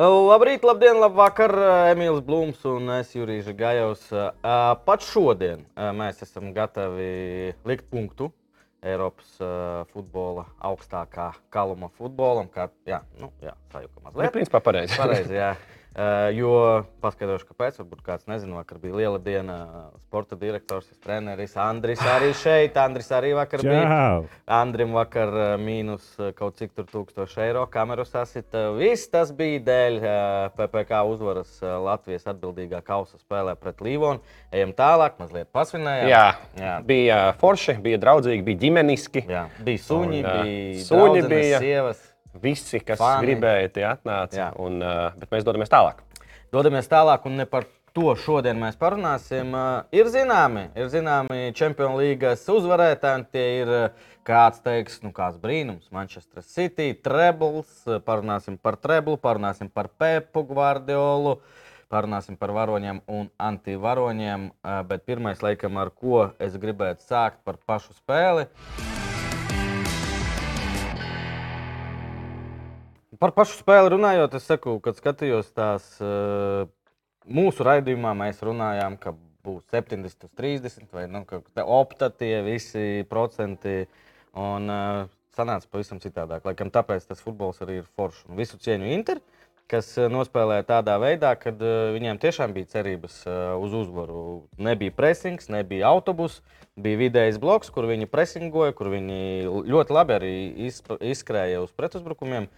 Labrīt, labdien, labvakar, eh, Emīls Blūms un eh, es Jurīša Gajos. Pat šodien ā, mēs esam gatavi likt punktu Eiropas ā, futbola augstākā kaluma futbolam, kā jā, nu, jā, sajūta Nu, mazliet. principā pareizi. Pareizi, jā. Ā, Jo paskaidrošu, kāpēc. Varbūt kāds nezina, vakar bija liela diena. eh, Sporta direktors, treneris Andris arī šeit. Andris arī vakar bija. Čau! Andrim vakar eh, mīnus eh, kaut cik tur 1000 eiro kameras asit. Eh, Viss tas bija dēļ eh, PPC uzvaras eh, Latvijas atbildīgā kausa spēlē pret Līvonu. Ejam tālāk, mazliet pasvinējām. Jā. Jā. Jā. Bija forši, bija draudzīgi, bija ģimeniski. Jā. Jā. bija suņi, Un, eh, bija suņi suņi, bija. bija sievas. Visi, kas Fani. Fani. gribēja, tie atnāca. Jā. Un, uh, bet mēs dodamies tālāk. Dodamies tālāk, un ne par to šodien mēs parunāsim. Uh, Ir zināmi, ir zināmi Champions Leagues uzvarētāji, un tie ir uh, kāds teiks, nu kāds brīnums. Manchester City, Trebles, uh, parunāsim par Treblu, parunāsim par Pepu Guardiolu. Parunāsim par varoņiem un antivaroņiem, uh, bet pirmais, laikam, ar ko es gribētu sākt par pašu spēli. Par pašu spēli runājot, es saku, kad skatījos tās eh, mūsu raidījumā, mēs runājām, ka būs 70, 30 vai nu, kaut kā opta tie visi procenti. Un eh, sanāca pavisam citādāk. Laikam tāpēc tas futbols arī ir foršs. Un visu cieņu Inter, kas eh, nospēlēja tādā veidā, kad eh, viņiem tiešām bija cerības eh, uz uzvaru. Nebija presings, nebija autobus, bija vidējais bloks, kur viņi presingoja, kur viņi ļoti labi arī izp- izskrēja uz pretuzbrukumiem.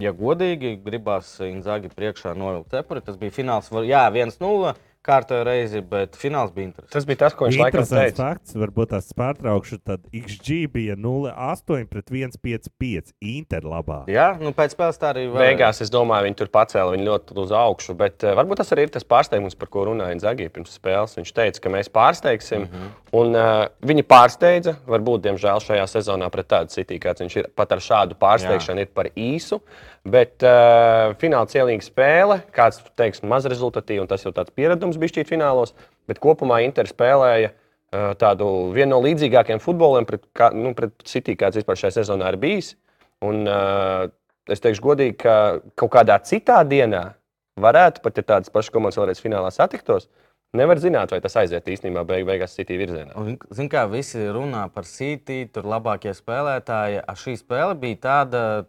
Ja godīgi, gribās Inzāģi priekšā novilkt cepuri. Tas bija fināls, var- jā, 1-0 kārtoja reizi, bet fināls bija interesants. Tas bija tas, ko viņš laikam Interesants teica. fakts, varbūt tās pārtraukšu. Tad XG bija 0,8 pret 1,55 Interlabā. Jā, nu pēc spēles tā arī vēl- Beigās es domāju, viņi tur pacēla viņu ļoti uz augšu. Bet uh, varbūt tas arī ir tas pārsteigums, par ko runāja Zagija pirms spēles. Viņš teica, ka mēs pārsteigsim. Mm -hmm. un, uh, viņi pārsteidza. Varbūt, diemžēl, šajā sezonā pret tādu citu, kāds viņš ir, pat ar šādu pārsteigšanu ir par īsu. Bet uh, fināla cienīga spēle, kāds teiks, maz rezultatīvi, un tas jau tāds pieredums bija šķiet finālos. Bet kopumā Inter spēlēja. uh, Tādu vienu no līdzīgākajiem futboliem pret, kā, nu, pret City, kāds vispār šajā sezonā ir bijis. Un, uh, es teikšu, godīgi, ka kaut kādā citā dienā varētu pat, ja tādas pašas komandas vēlreiz finālā satiktos, nevar zināt, vai tas aiziet īstenībā beig beigās citī virzienā. Un, Zin, kā visi runā par City, tur labākie spēlētāji. A, Šī spēle bija tāda,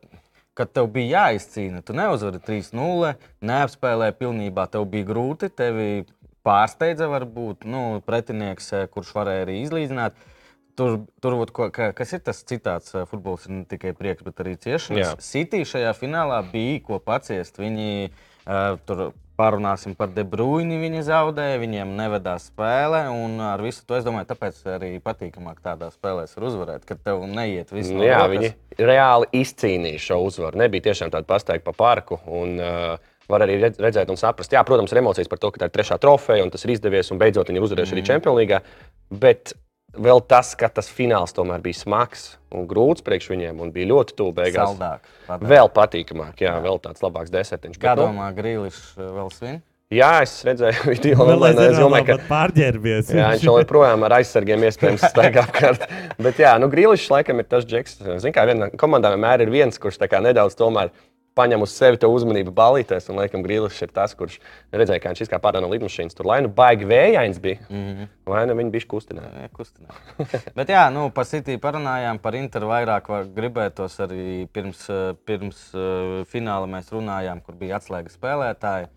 ka tev bija jāizcīna. Tu neuzvari 3-0, neapspēlēji pilnībā. Tev bija grūti, tevi pārsteidza varbūt nu, pretinieks, eh, kurš varēja arī izlīdzināt. Tur, tur vot ko, ka, kas ir tas citāts, eh, futbols ir ne tikai prieks, bet arī ciešanas. Jā. City šajā finālā bija ko paciest. Viņi uh, tur pārunāsim par debruīni, viņi zaudēja, viņiem nevedās spēle. Un ar visu to es domāju, tāpēc arī patīkamāk tādā spēlē ir uzvarēt, kad tev neiet viss. Nu, jā, viņi reāli izcīnīja šo uzvaru. Nebija tiešām tāda pastaigta pa parku. Un, uh, Var arī redz- redzēt un saprast, jā, protams, ir emocijas par to, ka tā ir trešā trofeja un tas ir izdevies, un beidzot viņi ir uzvarējuši mm. arī Champions League. Bet vēl tas, ka tas fināls tomēr bija smags un grūts priekš viņiem, un bija ļoti tuvu beigām. saldāk. Vēl... Vēl patīkamāk, jā, vēl tāds labāks desertiņš. Kā Bet, nu, domā, Grīlis vēl svin? Jā, es redzēju, video Vēl online, es aizvien domāju, ka pat pārģērbies. jā, viņš vēl joprojām ar aizsargiem iespējams staigā apkārt. Bet, jā, nu, Grīlis laikam ir tas džeks. Ziniet, kā vienā komandā vienmēr ir viens, kurš tā kā nedaudz tomēr paņem uz sevi to uzmanību balīties. Un, laikam, Grīlis ir tas, kurš redzēja, kā viņš izkāpa pārā no lidmašīnas. Tur lai nu baigi vējains bija, mm Mhm. -hmm. lai nu viņi bija kustināti. Jā, Kustināt. Bet, jā, nu, par City parunājām, par Interu vairāk var- gribētos arī pirms, eh, pirms eh, fināla mēs runājām, kur bija atslēga spēlētāji.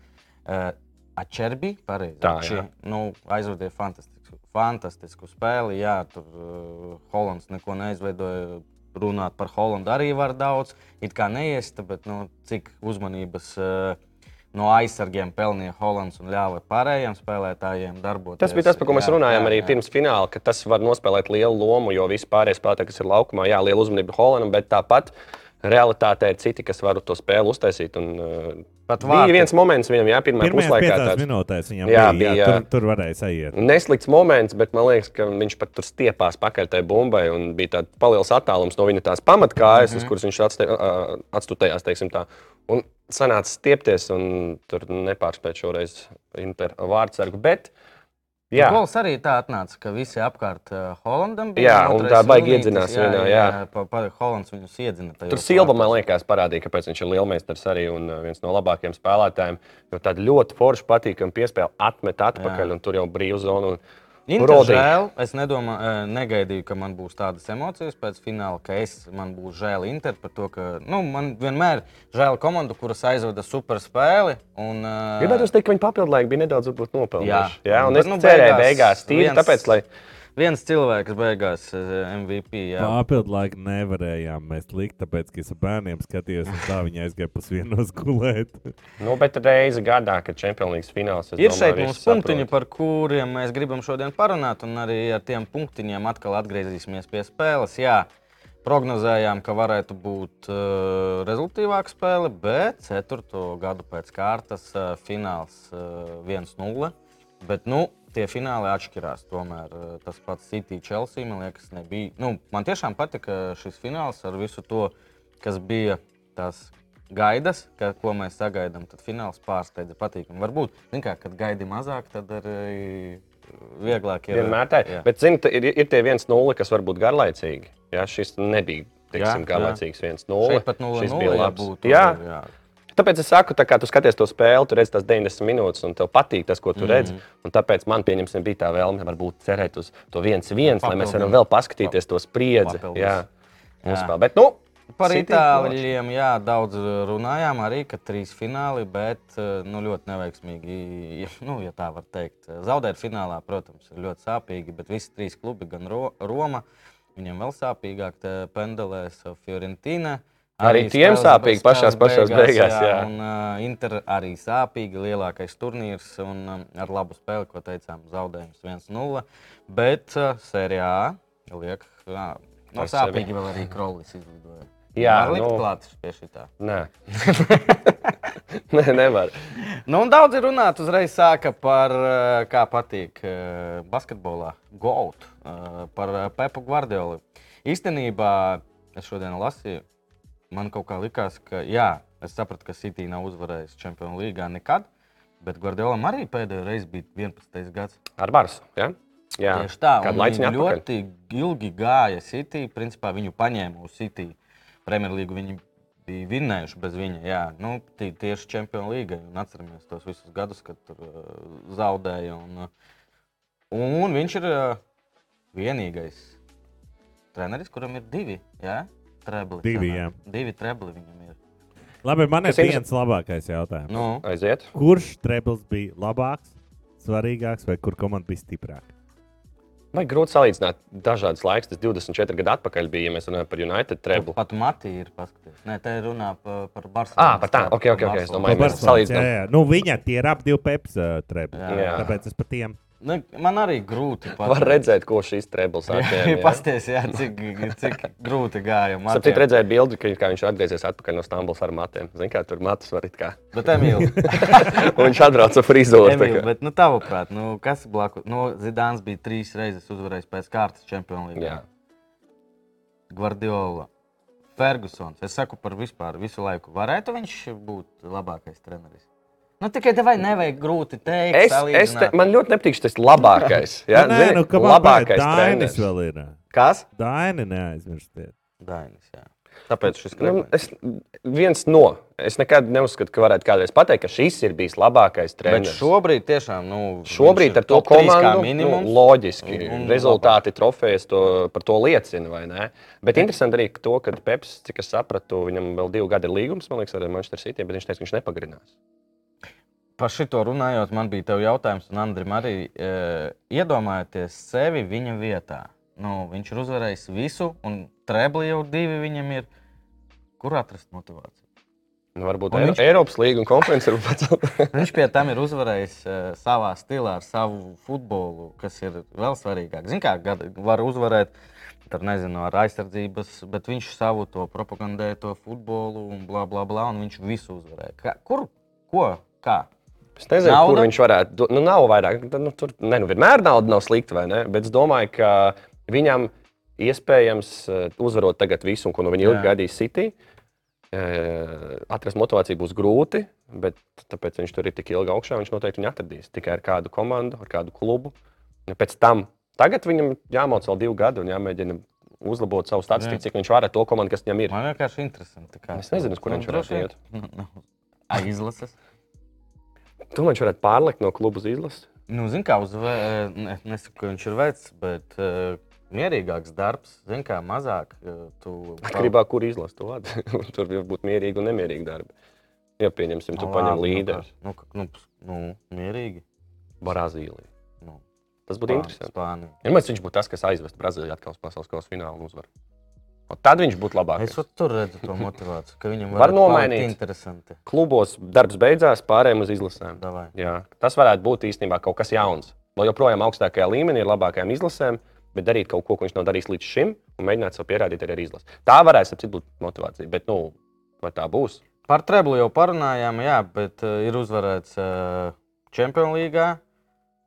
Eh, Ačerbi, pareizi. Tā, Šie, jā. nu, aizvadīja fantastisku, fantastisku spēli. Jā, tur uh, Hollands neko neizveidoja. Runāt par Holandu arī var daudz. It kā neiesta, bet nu, cik uzmanības uh, no aizsargiem pelnīja Hollands un ļāva pārējiem spēlētājiem darboties. Tas bija tas, par ko mēs Jā, runājām jā, arī jā. pirms fināla, ka tas var nospēlēt lielu lomu, jo visi pārējie spēlētāji, kas ir laukumā, jā, liela uzmanība Holandam, bet tāpat realitātē ir citi, kas var to spēli uztaisīt. Un, uh, Pat bija vārti. viens moments viņam, jā, pirmā Pirmajās puslaikā. piecās Tāds. minūtēs viņam Jā, jā, bija, jā, bija, jā. tur, tur varēja aiziet. Neslikts moments, bet man liekas, ka viņš pat tur stiepās pakaļ tai bumbai. un Bija tāds liels attālums no viņa tās pamatkājas, Mhm. mm -hmm. uz kuras viņš atste- ā, atstutējās. teiksim tā. Un sanāca stiepties, un tur nepārspēja šoreiz Inter vārdsargu. Bet Jā, Kols arī tā atnāca, ka visi apkārt eh, Holandam Jā, un otrais tā baigi Vilnītis, iedzinās vienā, jā. pa- pa- Holands viņus iedzina. tajos Tur Silva, man liekas, parādīja, kāpēc viņš ir lielmeistars arī un uh, viens no labākajiem spēlētājiem. Jo tāda ļoti forša, patīkama piespēle atmet atpakaļ, Jā. un tur jau brīva zona. Un... Inter Rodri. žēl. Es nedomā, eh, negaidīju, ka man būs tādas emocijas pēc fināla, ka es, man būs žēl Inter par to, ka nu, man vienmēr žēl komandu, kuras aizvada super spēli. Un, eh, Gribētu teikt, ka viņa papildu laiku bija nedaudz varbūt, nopelnījuši. Jā. Jā, un Bet, es nu, nu, beigās cerēju, beigās tīri viens- tāpēc, lai viens cilvēks beigās eh, MVP. Jā. Papildu Nu, laiku nevarējām mēs likt, tāpēc, ka es ar bērniem skatījos, un tā viņi aizgāja pusdienos gulēt. nu, bet reizi gadā, kad čempionīgs fināls es Ir domāju, šeit visi mums saprot. punktiņi, par kuriem mēs gribam šodien parunāt, un arī ar tiem punktiņiem atkal atgriezīsimies pie spēles. Jā, prognozējām, ka varētu būt uh, rezultātīvāka spēle, bet 4. gadu pēc kārtas uh, fināls uh, 1-0. Bet, nu, tie fināli atšķirās. Tomēr eh, tas pats City Chelsea man liekas, nebija. Nu, man tiešām patika eh, šis fināls ar visu to, kas bija tās gaidas, ka, ko mēs sagaidām. Tad fināls pārsteidza patīkami. Varbūt, zin kā, kad gaidi mazāk, tad arī eh, vieglāk ir. Vienmēr tā ir. Jā. Bet, zinot, ir, ir tie 1-0, kas var būt garlaicīgi. Jā, šis nebija Jā, teiksim, jā. garlaicīgs 1-0. Šeit pat 0-0 Šis bija ja labs. būtu, Jā, jā. tāpēc es saku, tā kā tu skaties to spēli, tu redz tās 90 minūtes, un tev patīk tas, ko tu mm. redz. Un tāpēc man, pieņemsim, bija tā vēlme varbūt cerēt uz to 1-1, lai mēs varam Papildināt. vēl paskatīties to spriedzi. Papildus. Jā, Jā. jā. Bet, nu, Par City klāt. itāļiem jā, daudz runājām, arī ka trīs fināli, bet eh, nu, ļoti neveiksmīgi. ja- Nu, ja tā var teikt, zaudēt finālā, protams, ir ļoti sāpīgi. Bet visi trīs klubi, gan Ro Roma, viņiem vēl sāpīgāk te pendelēs Fiorentīna. Arī tiem sāpīgi pašās- pašās beigās, jā. Un uh, Inter arī sāpīgi, lielākais turnīrs un um, ar labu spēli, ko teicām, zaudējums 1-0. Bet uh, sērijā liek, jā, no Par sevi. sāpīgi vēl arī Krolis izlidoja. Jā, Var likt nu. klāt pie šitā. nē. nē, nevar. Nu, un daudzi runāt uzreiz sāka par, eh, kā patīk eh, basketbolā, GOAT, eh, par eh, Pepu Guardioli. Īstenībā es šodien lasīju, man kaut kā likās, ka jā, es sapratu, ka City nav uzvarējis Champions League nekad, bet Guardiolam arī pēdējo reizi bija 11. gads. Ar Barsu. Jā, jā. Tieši tā, un Kādu laiciņu viņi atpakaļ. ļoti ilgi gāja City. Principā viņu paņēma uz City. Premjerlīgu viņi bija vinnējuši bez viņa. Jā, nu, tie- tieši Champions League. Atceramies tos visus gadus, kad tur eh, zaudēja. Un, eh, un viņš ir eh, vienīgais treneris, kuram ir divi. Jā? Trebli, Divi, sanāk. jā. divi trebli viņam ir. Labi, man ir Kas ir- viens labākais jautājums. Nu, Aiziet. Kurš trebles bija labāks, svarīgāks vai kur komanda bija stiprāka? Vai grūti salīdzināt dažādas laiks, tas 24 gadu atpakaļ bija, ja mēs runājam par United treblu. pat Matī ir paskatījis. Nē, tā ir runā par, par Barcelonu. Ah, par tā. Ok, ok, ok, es Barcelonu. domāju, Vai mēs Barcelonas, jā, salīdzinām? jā. Nu, viņa tie ir ap divi peps uh, trebles. Jā. Jā. Tāpēc es par tiem. Nu, Man arī grūti Var pateikt. redzēt, ko šīs treblas Viņa atņēma. pasties, jā, cik, cik grūti gāja. Sapratu, Matiem. redzēju bildi, ka kā viņš atgriezies atpakaļ no Stambulas ar matiem. Zini, kā tur matus var it kā. Bet, Nu, Emīl, Un viņš atbrauca frizūru. Emīl, bet nu, tavuprāt, nu, kas blakus? Nu, Zidāns bija trīs reizes uzvarējis pēc kārtas Champions League. Jā, Guardiola, Fergusons. Es saku par vispār visu laiku. Varētu viņš būt labākais treneris? Nu, tikai tev nevajag grūti pateikt. es, es te, man ļoti nepatīk šis labākais. Jā, Nu, nē, zini, nu, ka man labākais treneris. Dainis vēl ir. Kas? Daini neaizmirstiet. Dainis, jā. Tāpēc šis nu, krekls. es, viens no. Es nekad neuzskatu, ka varētu kādreiz pateikt, ka šis ir bijis labākais Bet treneris. šobrīd tiešām, nu, viņš Šobrīd ir ar to top trīs kā komandu nu, minimums. loģiski Un- un rezultāti, trofejas to, par to liecina. vai ne? Bet interesanti arī to, ka Peps, cik es sapratu, viņam vēl divi gadi ir līgums, man liekas, ar Manchester City, bet viņš teica, ka viņš nepagarinās. Par šito runājot, man bija tev jautājums, un Andrim arī e, iedomājieties sevi viņa vietā. Nu, viņš ir uzvarējis visu, un trebli jau divi viņam ir. Kur atrast motivāciju? Nu, varbūt Un Eiro, viņš- viņš... Eiropas līnija un konferences var pacelt. Viņš pie tam ir uzvarējis e, savā stilā, ar savu futbolu, kas ir vēl svarīgāk. Ziniet, kā gada- var uzvarēt tur, nezinu, ar aizsardzības, bet viņš savu to propagandēto futbolu un bla bla bla, un viņš visu uzvarēja. Kā, kur? Ko? Kā? Es nezinu, Nauda? Nauda? kur viņš varētu. do- Nu, nav vairāk, nu, tur ne, nu, vienmēr nauda nav slikta, vai ne? Bet es domāju, ka viņam iespējams eh, uzvarot tagad visu, un ko no viņa ilgi Jā. gaidīja City. eh, Atrast motivāciju būs grūti, bet tāpēc viņš tur ir tik ilgi augšā. Viņš noteikti viņu atradīs tikai ar kādu komandu, ar kādu klubu. Pēc tam tagad viņam jāmācās vēl divi gadi un jāmēģina uzlabot savu statistiku, cik viņš var ar to komandu, kas viņam ir. Man vienkārši interesanti. kā Es nezinu, uz kur Nu, viņš varētu droši vien. iet. Ai, izlases. Tu viņš varētu pārlikt no kluba uz izlases. Nu, zin kā, uz, vē- ne, nesaku, ka viņš ir vecs, bet uh, mierīgāks darbs, zin kā, mazāk. Uh, tu Atkarībā no kur izlases tu vadi. Tur var būt mierīgi un nemierīgi darbi. Ja pieņemsim, tu paņem līderi Nu, kā- nu, ps- nu, mierīgi. Brazīliju. Nu, Tas būtu Spāni- interesanti. Spānija. Vienmēr viņš būtu tas, kas aizvest Brazīliju atkal uz pasaules kausa finālu un uzvaru. Un Tad viņš būtu labāks. Es vat tur redzu to motivāciju, ka viņam Var varētu palikt nomainīt. Interesanti. Klubos darbs beidzās, pārējām uz izlasēm. Davai. Jā. Tas varētu būt īstenībā kaut kas jauns. Lai joprojām augstākajā līmenī ir labākajām izlasēm, bet darīt kaut ko, ko viņš nav darījis līdz šim, un mēģināt sev pierādīt arī ar izlasi. Tā varētu ap citu, būt motivācija, bet nu, vai tā būs? Par treblu jau parunājām, jā, bet uh, ir uzvarēts uh, Champions League,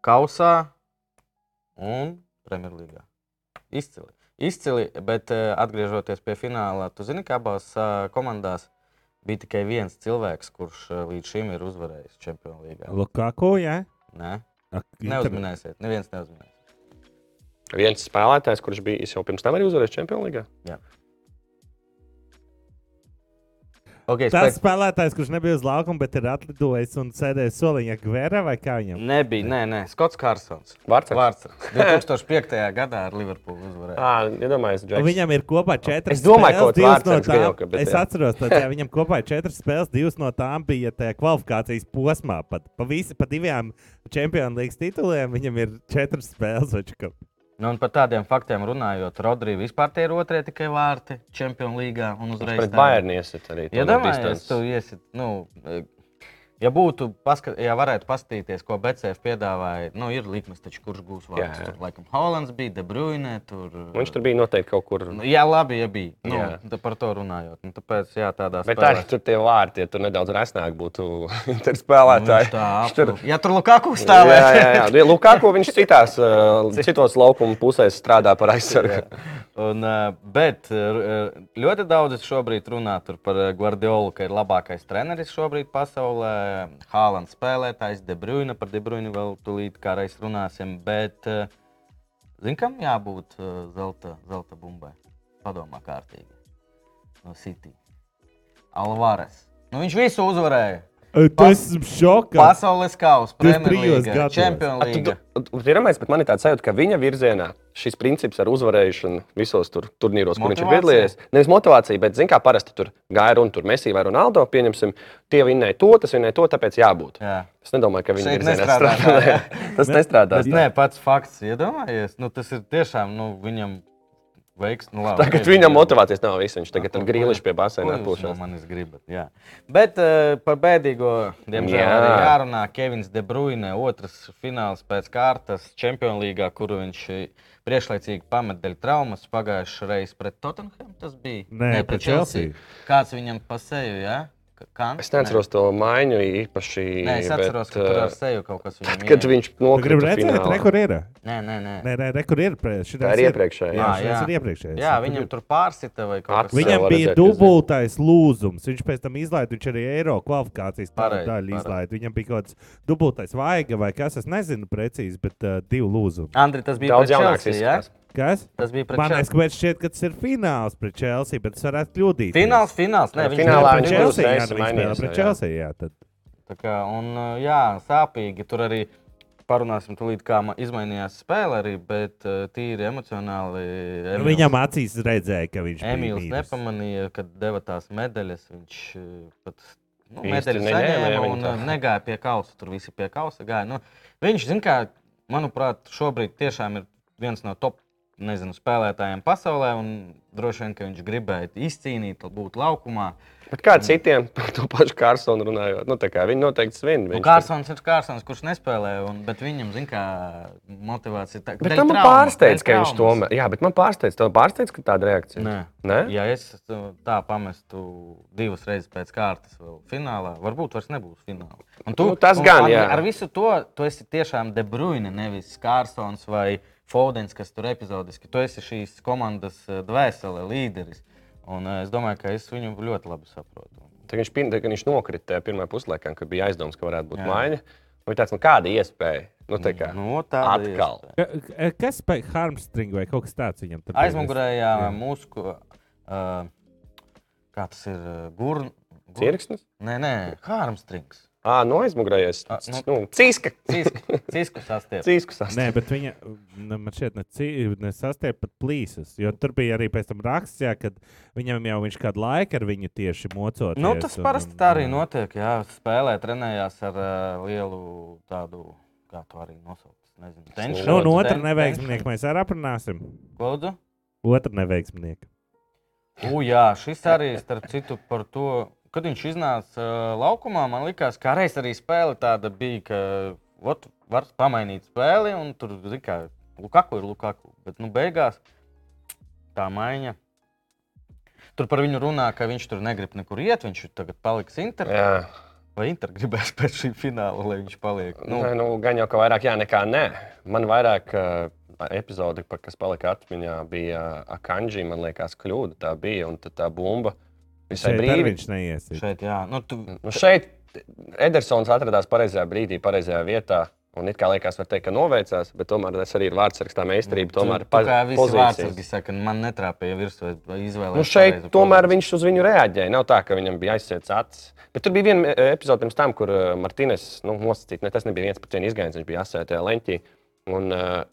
Kausā un Premjerlīgā. Izcili. Izcili, bet uh, atgriežoties pie fināla, tu zini, ka abās uh, komandās bija tikai viens cilvēks, kurš uh, līdz šim ir uzvarējis Champions League. Lukaku, jā? Nē, Ak, internet- neuzminēsiet, neviens neuzminēs. Viens spēlētājs, kurš bija es jau pirms tam arī uzvarējis Champions League. Okay, spēc... Tas spēlētājs, kurš nebija uz laukuma, bet ir atlidojis un sēdējis soliņā, gvērā vai kā Mm, viņam? Nebija, nē, nē, Skots Kārsons. Vārds ar Vārds 2005. gadā ar Liverpoolu uzvarēja. Ah, iedomājieties, Un Nu, Džeks. Viņam ir kopā četras Es domāju, spēles, kaut divas vārds no ar Skajoka, tām. bet Es jā. atceros, tad jā, viņam kopā ir četras spēles, divas no tām bija tajā kvalifikācijas posmā. Pat pa, visi, pa divām Champions League tituliem viņam ir četras spēles. vai čakam. Nu, un par tādiem faktiem runājot, Rodrigo vispār tie ir otrie tikai vārti Champions League un uzreiz. Pret Bayernu iesiet arī. tomēr Iedomājieties, distance. tu iesi. Nu, e, ja būtu, paska, ja varētu paskatīties, ko BCF piedāvāja, nu, ir likmes, taču kurš gūs vārdus. Jā. Tur, laikam, Hollands bija, De Bruyne, tur. e, Viņš tur bija noteikti kaut kur. Nu, jā, labi, ja bija. Nu, Jā. tā par to runājot. Nu, tāpēc, jā, tādā Bet spēlē. arī tur tie vārti, ja tur nedaudz resnāk būtu tur spēlētāji. Nu, Viņš tā tur- aplu- Ja tur Lukaku jā, stāvēja. jā, jā. Lukāko viņš citās, uh, citos laukuma pusēs strādā par aizsargu. Un, eh, bet eh, ļoti daudz šobrīd runā tur par eh, Guardiolu, ka ir labākais treneris šobrīd pasaulē. Hālands spēlētājs, De Bruyne, par De Bruyne vēl tūlīt kā reiz runāsim. Bet, zinām, kam jābūt eh, zelta, zelta bumbai? Padomā kārtīgi. No City. Alvarez. Nu, viņš visu uzvarēja. Tu esi šokā. Pasaules kausa, Tas trijos Premjerlīga, gados. Champions League. Iedomājieties, bet man ir tāds sajūta, ka viņa virzienā šis princips ar uzvarēšanu visos tur, turnīros, kur viņš ir Motivācija. piedalījies, nevis motivācija, bet, zinām, kā parasti tur gāja runa, tur Messi vai Ronaldo, pieņemsim, tie vinnēja to, tas vinnēja to, tāpēc jābūt. Jā. Es nedomāju, ka viņi Šeit ir zināms, nestrādā strādā. tā, jā. Nē, Tas nestrādā. Bet, nē, pats fakts, iedomājies. Nu, tas ir tiešām nu, viņam veiks. Nu, labi, Tagad veiks, viņam jā. motivācijas nav viss. Viņš tagad Ko- ir grīlis pie ko jūs basēna no atpūšas. manis gribat. Jā. Bet uh, par bēdīgo, diemžēl, jā. Jā. arī jārunā. Kevins De Bruyne, otrs fināls pēc kārtas Champions League, kuru viņš eh, priekšlaicīgi pamet dēļ traumas pagājušajā reizē pret Tottenham. Tas bija Nē, pret Chelsea. Kāds viņam pa seju? Ja? Kants? Es neatceros to maiņu īpaši. uh, Nē, Nē, es atceros, bet, ka tur ar seju kaut kas viņam Tad, kad ieja. viņš Gribu nokrita redzēt, finālā. re, kur ir. Nē, nē, nē. Nē, nē, re, kur ir. pre- šitās Tā ir iepriekšējā, Jā, jā. šitās Jā. ir iepriekšējais. Jā, Tur ir. viņam tur pārsita vai kaut kas Atseva. tāds. Viņam var bija redzēt, ka zina. dubultais lūzums. Viņš pēc tam izlaiž, viņš arī eiro kvalifikācijas Pareizi, daļu pareizi. izlaiž. Viņam bija kaut kāds dubultais vaiga vai kas, es nezinu precīzi, bet uh, divi lūzumi. Andri, tas bija Daudz pret jaunāks Chelsea, ja? izskatās. Kas? Tas bija pret Man Chelsea. liekas, ka šķiet, ka tas ir fināls pret Chelsea, bet es varētu kļūdīties. Fināls, fināls. Nē, Jā, viņš finālā bija viņš pret būs Chelsea. Chelsea, reizes jā, nu viņš spēlē mainījies, pret jā. Chelsea. Jā, tad. Tā kā, un, uh, jā, sāpīgi. Tur arī parunāsim, tūlīt, kā ma- izmainījās spēle, arī, bet uh, tīri emocionāli. Nu, Emils- Viņam acīs redzēja, ka viņš bija Emīls mīnus. nepamanīja, kad deva tās medaļas. Viņš uh, pat nu, Īsti medaļas neņēma, ja saņēma viņi un tā. uh, negāja pie kausa. Tur visi pie kausa gāja. Nu, viņš, zin kā, manuprāt, šobrīd tiešām ir viens no top nezinu, spēlētājiem pasaulē. un Droši vien, ka viņš gribēja izcīnīt, būt laukumā. Bet kā ar citiem, par to pašu Kārsonu runājot, nu, tā kā viņi noteikti svin. Nu, viņš Kārsons ir Kārsons, kurš nespēlē, un, bet viņam, zināmā mērā, motivācija ir tāda. Bet tam man pārsteidz, ka viņš tomēr. Jā, bet man pārsteidz, tev pārsteidz, ka tāda reakcija. Nē. Nē? Ja es uh, tā pamestu divas reizes pēc kārtas, vēl finālā, varbūt vairs nebūs fināla. Un Nu, tas gan, ar, jā. Ar visu to tu esi tiešām De Bruyne, nevis Kārsons vai Fodens, kas tur epizodiski. Tu esi šīs komandas uh, dvēsele, līderis. Un uh, es domāju, ka es viņu ļoti labi saprotu. Tad viņš, pin- tad, kad viņš nokrita tajā pirmā puslaikā, kad bija aizdoms, ka varētu būt Jā. maiņa. Viņa teica, nu, kāda iespēja? Nu, tā kā, No tā atkal. Ka- ka- Kas bija Harmstrings vai kaut kas tāds viņam? tur bija? Aizmugurējā Jā. mūsu, uh, kā tas ir, gurns. Cirksnis? Nē, nē, harmstrings. Ā, no aizmugurējies. Ā, nu. Nu, cīska. Cisku, cisku sastiep. Cīsku sastāvā. Nē, bet viņa ne, man šeit nesastiep pat plīsas. Jo tur bija arī pēc tam raksts, jā, kad viņam jau viņš kādu laiku ar viņu tieši mocot. Nu, tas parasti tā arī notiek. Jā, spēlē, trenējās ar uh, lielu tādu, kā to arī nosaukt. es Nezinu, tenšu, Nu, un otru ten- neveiksmnieku mēs arī aprunāsim. tenšu. Lūdzu? Otru neveiksmnieku. U, jā, šis arī, starp citu, par to, kad viņš iznāca uh, laukumā, man likās, ka reiz arī spēle tāda bija, ka ot, var pamainīt spēli, un tur zini kā Lukaku ir Lukaku. Bet nu, beigās tā maiņa. Tur par viņu runā, ka viņš tur negrib nekur iet, viņš tur tagad paliks Inter. Jā, Vai Inter gribēs pēc šī fināla, lai viņš paliek? nu. Nu, Nē, nu, gan jau ka vairāk jā, nekā nē. Man vairāk uh, epizode, pa- kas palika atmiņā, bija Akanji, man liekas, kļūda. Tā bija, un tad tā bumba visai Šeit arī brīvi. viņš neiesīs. šeit, jā, nu, tu, Nu, šeit Edersons atradās pareizajā brīdī, pareizajā vietā. Un it kā liekas, var teikt, ka noveicās, bet tomēr tas arī ir vārdsargs, tā meistarība. Tomēr tu, tu, Nu, kā pa- visi pozīcijas. vārdsargi saka, nu, man netrāpīja virsū, vai izvēlējos. Nu šeit pareizo tomēr pozīciju. viņš uz viņu reaģēja. Nav tā, ka viņam bija aizsēdzis acis. Bet tur bija viena e, epizode pirms tam, kur e, Martīnes nu, nosacīja, ne, tas nebija viens pats izgājiens, viņš bija asētajā leņķī. Un, e,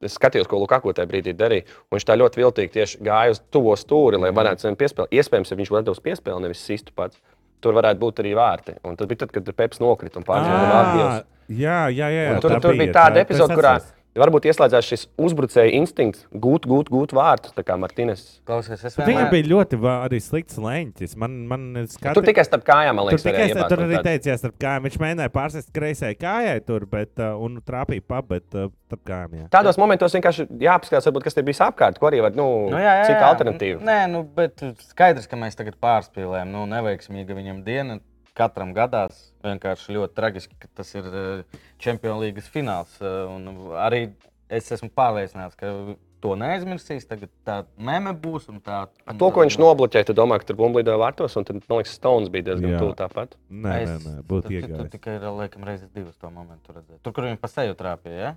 Es skatījos, ko Lukaku tajā brīdī darīja. un Viņš tā ļoti viltīgi tieši gāja uz to stūri, lai varētu sev piespēlēt. Iespējams, ja viņš būtu devis piespēli, nevis sistu pats. Tur varētu būt arī vārti. Un tas bija tad, kad Peps nokrita un pārdzīvoja vārtus. jā, jā, Ah, jā. Un Tur, tā tur bija tāda epizode, kurā varbūt ieslēdzās šis uzbrucēja instinkts gūt, gūt, gūt vārtus. Tā kā Martīnes Klausies, es Viņam vienmēr... bija ļoti vā- arī slikts leņķis. Man, man skati... Tur tikai starp kājām, man Tur liekas, tikai varēja es tur iebāzt arī kaut kādu. teicu, ar kājām. Viņš mēģināja pārsēst kreisajai kājai tur, bet uh, un trāpīja pa, bet uh, starp kājām. jā. Tādos momentos vienkārši jāapskatās, varbūt, kas te bija apkārt, ko arī var, nu, Nu, jā, jā, cita jā. alternatīva. Nē, nu, bet skaidrs, ka mēs tagad pārspīlējam. Nu, neveiksmīga viņam diena. Katram gadās vienkārši ļoti tragiski, ka tas ir eh, Champions League fināls. eh, Un arī es esmu pārliecināts, ka to neaizmirsīs. Tagad tā meme būs. un Tā, Ar to, ko viņš nobloķēja, tad domāju, ka tur bumblīdā vārtos, un tad, man liekas, Stones bija diezgan Jā. tuvu tāpat. Nē, nē, nē, būtu Tur iegājis. tikai ir laikam reizes divas to momentu redzēt. Tur, kur viņam pasēju trāpīja. Ja?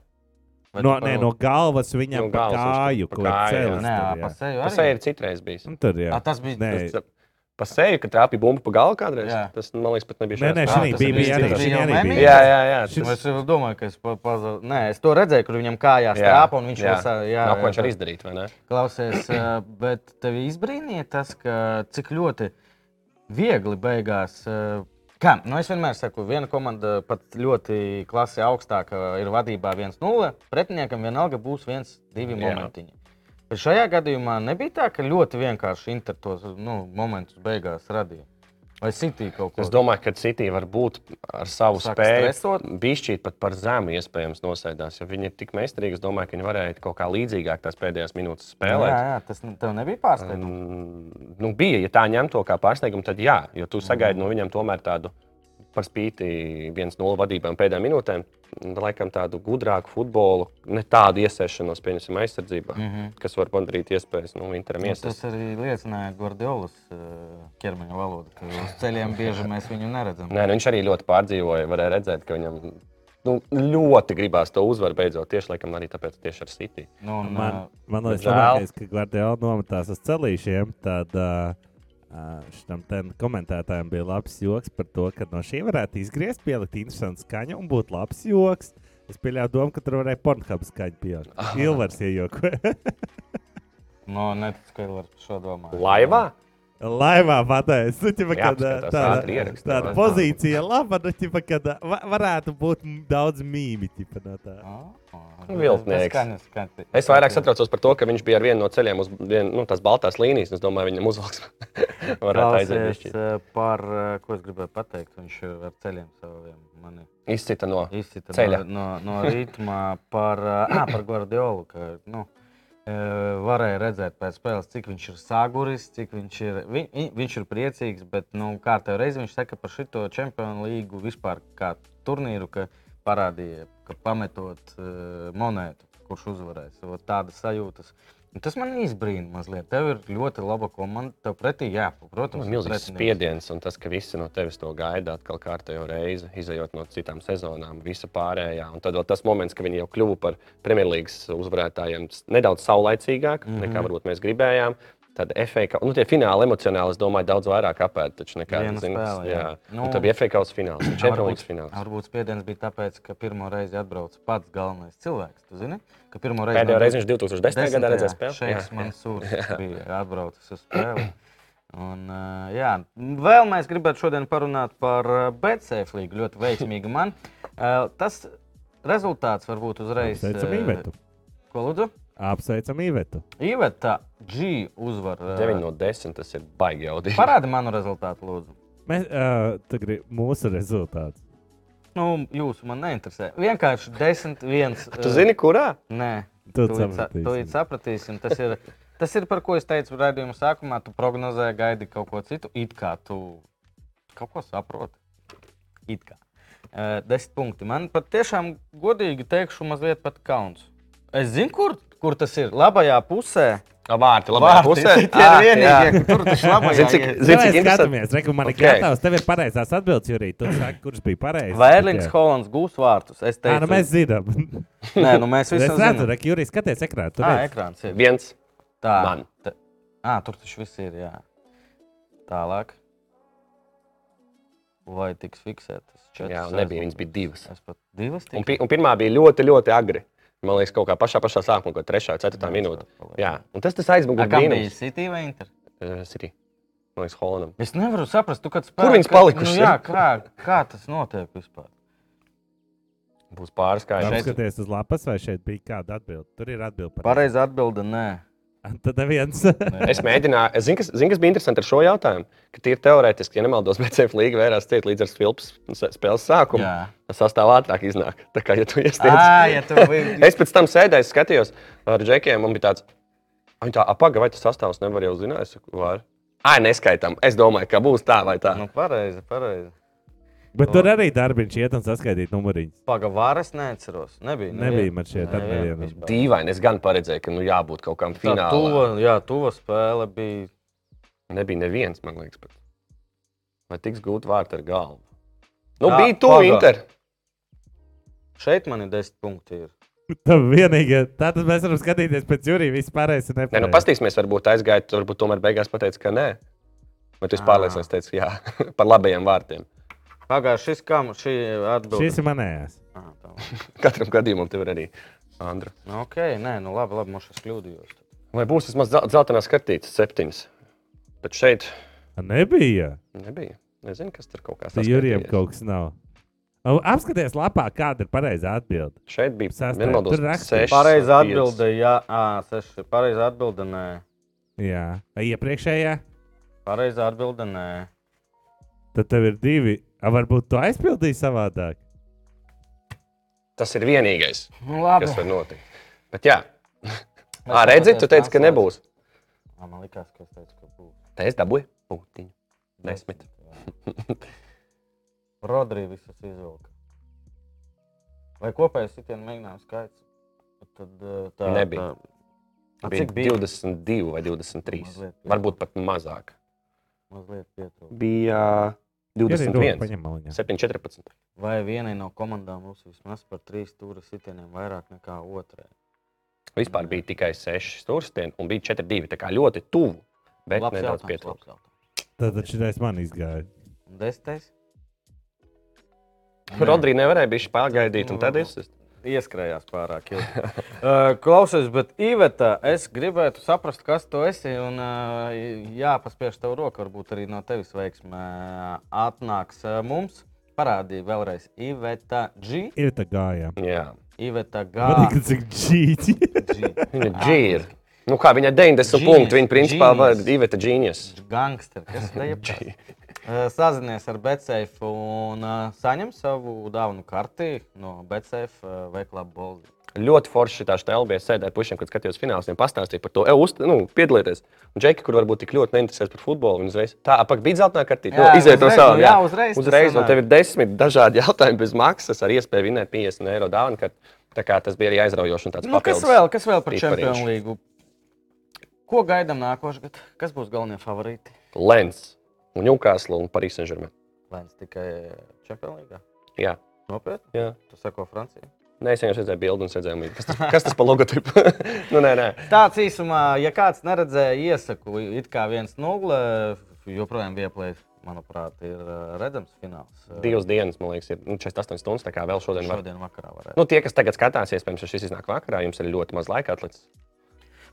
Vai No, tu nē, pa- no galvas viņam No pa galvas kāju viņš tur pa kaut kā kāju, jā. cēlās. Nē, tur, jā. pasēju Tas arī arī. ir citreiz bijis. Un Tur, jā. Ā, Tas bija. Nu, Nē, Tas Pa seju, ka trāpīja bumbu pa galu kādreiz. Jā. Tas, man liekas, pat nebija Nē, nē, Ā, šī tas bija, ir bija arī. citreiz. Šī Jau arī memī? bija. Jā, jā, jā. Šis- Šis... Es jau domāju, ka es pa- pazaudēju. Nē, es to redzēju, kur viņam kājās trāpa un viņš jā. lasā- jā, Nav jā, ko tā. viņš var izdarīt, vai ne? Klausies, eh, bet tev izbrīnīja tas, ka cik ļoti viegli beigās. eh, Kā? Nu, es vienmēr saku, viena komanda pat ļoti klasi augstāka ir vadībā 1-0. Pretiniekam vienalga būs 1-2 Jā. momentiņi. Bet šajā gadījumā nebija tā, ka ļoti vienkārši Inter tos nu, momentus beigās radīja. Vai City kaut ko Es domāju, ka City var būt ar savu Sāk spēju. stresot? Bija šķiet, pat par zemu iespējams nosēdās. Jo viņi ir tik meistarīgi, es domāju, ka viņi varēja kaut kā līdzīgāk tās pēdējās Jā, minūtes spēlēt. jā, tas ne- tev nebija pārsteigums. Mm, nu, bija, ja tā ņem to kā pārsteigumu, tad jā, jo tu sagaidi Mhm. no viņiem tomēr tādu par spīti 1-0 vadībām pēdējām minūtēm. un, Laikam tādu gudrāku futbolu, ne tādu iesaistīšanos, pieņemsim, aizsardzībā, mm -hmm. kas var padarīt iespējas nu, Interam Mhm. Nu, Tas iesaistīties. arī liecināja Gordiolas eh, ķermeņa valoda. ka Uz ceļiem bieži mēs viņu neredzam. Nē, nu, viņš arī ļoti pārdzīvoja. Varēja redzēt, ka viņam nu, ļoti gribās to uzvaru beidzot. Tieši laikam arī tāpēc, tieši ar City. Nu, un, Man, eh, man liekas, žēl. labākais, ka Gvardiola nometās uz celīšiem, tad uh, šitam ten komentētājam bija labs joks par to, ka no šī varētu izgriezt, pielikt interesantu skaņu un būt labs joks. Es pieļāvu domu, ka tur varēja pornogrāfa skaņa pieaugt. Ilvars iejoko. nu, neticu, ka Ilvars par šo domā. Laivā? Laivā pateicis, nu, ķipa, Jā, kad, ā, apskatās, tāda, ātri ieraksta, tāda vai? pozīcija laba, nu, ķipa, kad, ā, va- varētu būt m- daudz mīmī. ķipa, No tā. Nu, Nu, Viltnieks. Es vairāk satraucos par to, ka viņš bija ar vienu no ceļiem uz vien, nu, tās baltās līnijas. un Es domāju, viņam uzvalks varētu aiziet. Klausies, bišķīt. eh, par eh, ko es gribēju pateikt. Viņš eh, ar ceļiem saviem mani Izcita no. izsita no, Ceļa. no, no ritma par, eh, ā, par Guardiolu. Ka, nu, eh, Varēja redzēt pēc spēles, cik viņš ir sāguris, cik viņš ir, vi, vi- viņš ir priecīgs. Bet nu, kā tev reizi viņš teica par šo čempionu līgu vispār kā turnīru, ka parādīja, ka pametot eh, monētu, kurš uzvarēs. Vot Tādas sajūtas. Un Tas man izbrīna mazliet. Tev ir ļoti laba komanda. Tev pretī, jā, protams, ir Tas ir milzīgs pretinieks. spiediens, un tas, ka visi no tevis to gaida atkal kārtējo reizi, izējot no citām sezonām, visa pārējā. Un tad vēl tas moments, ka viņi jau kļuvu par Premjerlīgas uzvarētājiem s- nedaudz saulaicīgāk, Mhm. mm -hmm. nekā varbūt mēs gribējām. Tad FA, ka- nu, tie fināli emocionāli, es domāju, daudz vairāk apēta. Taču nekā Viena spēle, jā. jā. Nu, Nu, tad bija FA kausa fināls, un Varbūt- Champions fināls. Varbūt spiediens bija tāpēc, ka pirmo reizi atbrauca pats galvenais cilvēks. Tu zini, ka pirmo reizi Pēdējo reizi viņš 2010. gadā redzēja spēli. Šeiks Jā, jā. Mansūrs bija atbraucis uz spēli. Un, uh, jā, vēl mēs gribētu šodien parunāt par BCF līniju. Ļoti veiksmīgi man. Uh, tas rezultāts varbūt uzreiz. Apsveicam eh, īvetu. Ko lūdzu? Apsveicam īvetu. Iveta G. uzvar. eh, 9 no 10 tas ir baigi jaudīgi. Parādi manu rezultātu, lūdzu. Mēs, uh, tagad mūsu rezultāts. Nu, jūsu man neinteresē. Vienkārši 10, 1. Tu zini, kurā? Nē, Tu Tūlīt sa- sapratīsi. tūlīt sapratīsim. Tas ir, tas ir par ko es teicu raidījuma sākumā. Tu prognozēji, gaidi kaut ko citu. It kā tu kaut ko saproti. It kā. Eh, Desmit punkti. Man patiešām, godīgi teikšu, mazliet pat kauns. Es zinu, kur, kur tas ir. Labajā pusē. Vārti, labā pusē. Tie ir Ah, jā. vienīgie, kur tas ir labajā. Zini, iet. cik, Zini, zini, cik interesanti. skatāmies, reku, man ir Ok. okay. gatavs, tev ir pareizās atbildes, Jurī. Tu saki, kurš bija pareizs. Vai Erlings Hollands gūs vārtus? Es Ā, teicu, nu mēs zinām. Nē, nu mēs es visi redzu, zinām. ka Jurī skaties ekrānā. Tu Tā redz. ir ekrāns. ir. Viens. Tā, Man. tā. À, tur tas viss ir. Jā. Tālāk. Vai tiks fiksētas četras? Jā, un nebija, viņas bija divas. Es pat divas Un, tikai. pi- un pirmā bija ļoti, ļoti agri. Man liekas, kaut kā pašā, pašā sākumā, kaut kā 3. un 4. Jā, minūte. es vēl Jā, palieku. un tas tas aizmugurē Ar kam bija brīnums. City vai Inter? Eh, City. Man liekas, Holandam. Es nevaru saprast, tu, kad Kur spēlē- viņas kad- palikušas Nu, jā, kā, kā tas notiek vispār? Būs pāris kā Vai Šeit- jau. Apskaties uz lapas, vai šeit bija kāda atbilde. Tur ir atbilde. par- Pareizi atbilde - nē. Tad neviens. nē. Es mēģināju, es zinu, kas, zin, kas bija interesanti ar šo jautājumu, ka tie ir teorētiski, ja nemaldos, BCF līga vērās ciet līdz ar Filps spēles sākumu. Jā. Tas sastāv ātrāk iznāk. Tā kā, ja tu iestiec, Ā, ja tu biji. Es pēc tam sēdēju, skatījos ar džekiem, un bija tāds, "Ai, tā apaga, vai tas sastāvs nevar jau zināt? Es saku, var. Ai, neskaitām. Es domāju, ka būs tā vai tā. Nu, pareizi, pareizi. Bet tur arī darbiņš iet un saskaitīt numuriņus. Pagavāras neatceros. Nebija. Nebija man šie tad neviena neviena. vispār. Dīvaini, es gan paredzēju, ka nu, jābūt kaut kam Tā finālam. tuva, jā, tuva spēle bija. Nebija neviens, man liekas, pat. Vai tiks gūti vārti ar galvu? Nu, Tā, Tā, bija pagā. tuvu Inter. Šeit man ir desmit punkti. Ir. Tā vienīgā. Tātad mēs varam skatīties pēc jūrī, vispārējais Nē, ir nu, nepareizi. paskatīsimies, varbūt aizgāja, tur varbūt tomēr beigās pateica, ka nē. Bet es Ā. pārliecināts, teicu, jā, par labajiem vārtiem. Pagājušajā šis kam šī atbilde. Šis ir manējās. Ah, tā. Katram gadījumam tev ir arī Andra. Nu, ok, nē, nu labi, labi, mums šis kļūdījos. Vai būs vismaz zel- dzeltenā skatītas septiņas? Bet šeit Nebija. Nebija. Nezinu, kas tur kaut kā Tad jūriem kaut kas nav. O, Apskaties lapā, kāda ir pareizā atbilde. Šeit bija Sastais. nemaldos, Tur rakstīts. seši, Pareizā pieci. atbilde, jā, ā, seši. Pareizā atbilde, nē. Jā. Vai iepriekšējā? Pareizā atbilde, nē. Tad tev ir divi. A, varbūt tu aizpildīji savādāk. Tas ir vienīgais, Nu, labi. kas var notikt. Bet jā, Ā, redzi, tu teici, ka nebūs. Jā, man likās, ka es teicu, ka būs. Tā es dabūju punktiņu. Desmit. Rodrija visas izvilka. Vai kopējais sitienu mēģinājumu skaits? Tad eh, tā Nebija. Tā... A, Bija Cik bija? 22 vai 23. Mazliet, jā. Varbūt pat mazāk. Mazliet pietrūka. Bija Jūrī, roku 21. paņem maliņā. 7, 14. Vai vienai no komandām būs vismaz par trīs stūra sitieniem vairāk nekā otrai? Vispār bija tikai 6 stūrstieni un bija 4, 2. Tā kā ļoti tuvu, bet Labs nedaudz jautājums, labs pietrūkst. jautājums. Tad šis man izgāja. Un Desmitais. Rodrija nevarēja bija pagaidīt, un tad Nu, es. Ieskrējās pārāk ilgi. uh, klausies, bet Iveta, es gribētu saprast, kas tu esi. Un, uh, jā, paspiež tev roka, varbūt arī no tevis veiksme uh, atnāks uh, mums. Parādīja vēlreiz Iveta G. Ir tā gājā. Jā. Iveta G. Man liekas, cik džīķi. Viņa G. ir. Nu, kā viņa 90 Genius, punktu, viņa principā genius. var divēt ģīnijas. Gangster, kas te ir? Sazinies ar Betseifu un uh, saņem savu dāvanu karti no Betseifa uh, veiklā Boldi. Ļoti forši tā stēlā bija sēdēt pušiem, kad skatījos finālus, un pastāstīja par to, e, uz, nu, piedalieties. Un Džeki, kur varbūt tik ļoti neinteresēs par futbolu, viņa uzreiz tā, apak bija zeltainā kartīte. Jā, Nu, iziet no uzreiz, savām. nu jā, uzreiz tas Uzreiz, un sanāk. tev ir desmit dažādi jautājumi bez maksas ar iespēju vinēt 50 eiro dāvanu. Tā kā tas bija arī aizraujoši un tāds Nu, kas papildus. vēl, kas vēl par Piparīšu. Čempionu līgu? Ko gaidām nākošais gads? Kas būs galvenie favorīti? Lens, Newcastle un Parīzes Saint-Germain. Lēns tikai Čempionā. Jā. Nopietni, Jā. tu sako Francijā. Nē, es vienkārši redzēju bildi un redzēju, kas tas, kas tas par logotipu. nu, nē, nē. Tāds īsumā, ja kāds neredzēja, iesaku, it kā viens nulle, joprojām vieplēs, manuprāt, ir eh, redzams fināls. eh, Divas dienas, man liekas, ir nu, 48 stundas. Tā kā vēl šodien, šodien. var. Šodien vakarā varētu. Nu, tie, kas tagad skatās, iespējams, ja šis iznāk vakarā, jums ir ļoti maz laika atlicis.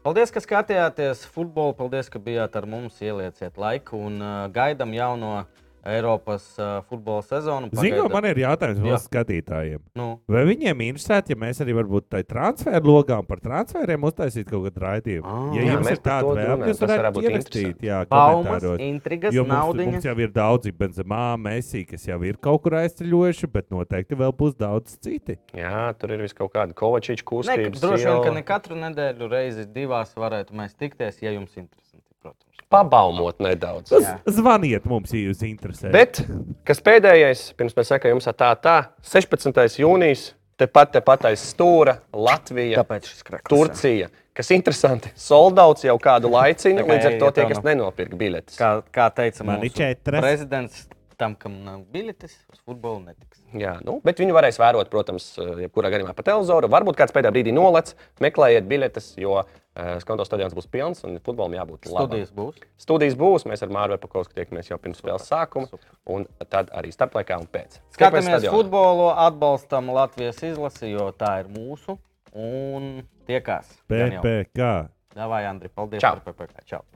Paldies, ka skatījāties futbolu. Paldies, ka bijāt ar mums. Ielieciet laiku un uh, gaidām jauno Eiropas uh, futbola sezonu. Zinu, man ir Jā. jautājums mūsu skatītājiem. nu, Vai viņiem interesētu, ja mēs arī varbūt tādā transferu logā un par transferiem uztaisītu kaut kādu raidījumu? Ah. ja Jā, jums mēs ir par tāda to vēlme, domājam, jūs tas varētu varētu būt ierakstīt. Jā, baumas, komentāros. intrigas, Jo mums, naudiņa. mums jau ir daudzi benzemā, mēsī, kas jau ir kaut kur aizceļojuši, bet noteikti vēl būs daudz citi. Jā, tur ir vis kaut kāda kovačīča Ne, kustība. droši vien, ka ne katru nedēļu reizi divās varētu mēs tikties, ja jums interesanti, protams. Pabaumot nedaudz. Z- Jā. Zvaniet mums, ja jūs interesē. Bet, kas pēdējais, pirms mēs sakām, jums tā, tā 16. jūnijas, tepat tepat aiz stūra Latvija, Tāpēc šis krāklis. Turcija. Kas interesanti, soldauts jau kādu laiku, Tā kā līdz ar to iet tie, jau kas no- nenopirka biļetes. Kā, kā teica Man ir mūsu četras. prezidents, tam, kam nav biļetes, uz futbolu netiks. Jā, nu, bet viņi varēs vērot, protams, eh, jebkurā gadījumā pa televizoru. Varbūt kāds pēdējā brīdī nolec, meklējiet biļetes, jo uh, skonto stadions būs pilns un futbolam jābūt labam. Studijas būs. Studijas būs, mēs ar Mārtu Pakovsku tiekamies jau pirms spēles sākuma, un tad arī starplaikā un pēc. Skatāmies stadionā. futbolu, atbalstam Latvijas izlasi, jo tā ir mūsu. Un tiekās. Gan jau. PPC. Davai, Andri, paldies Čau. par PPC. Čau!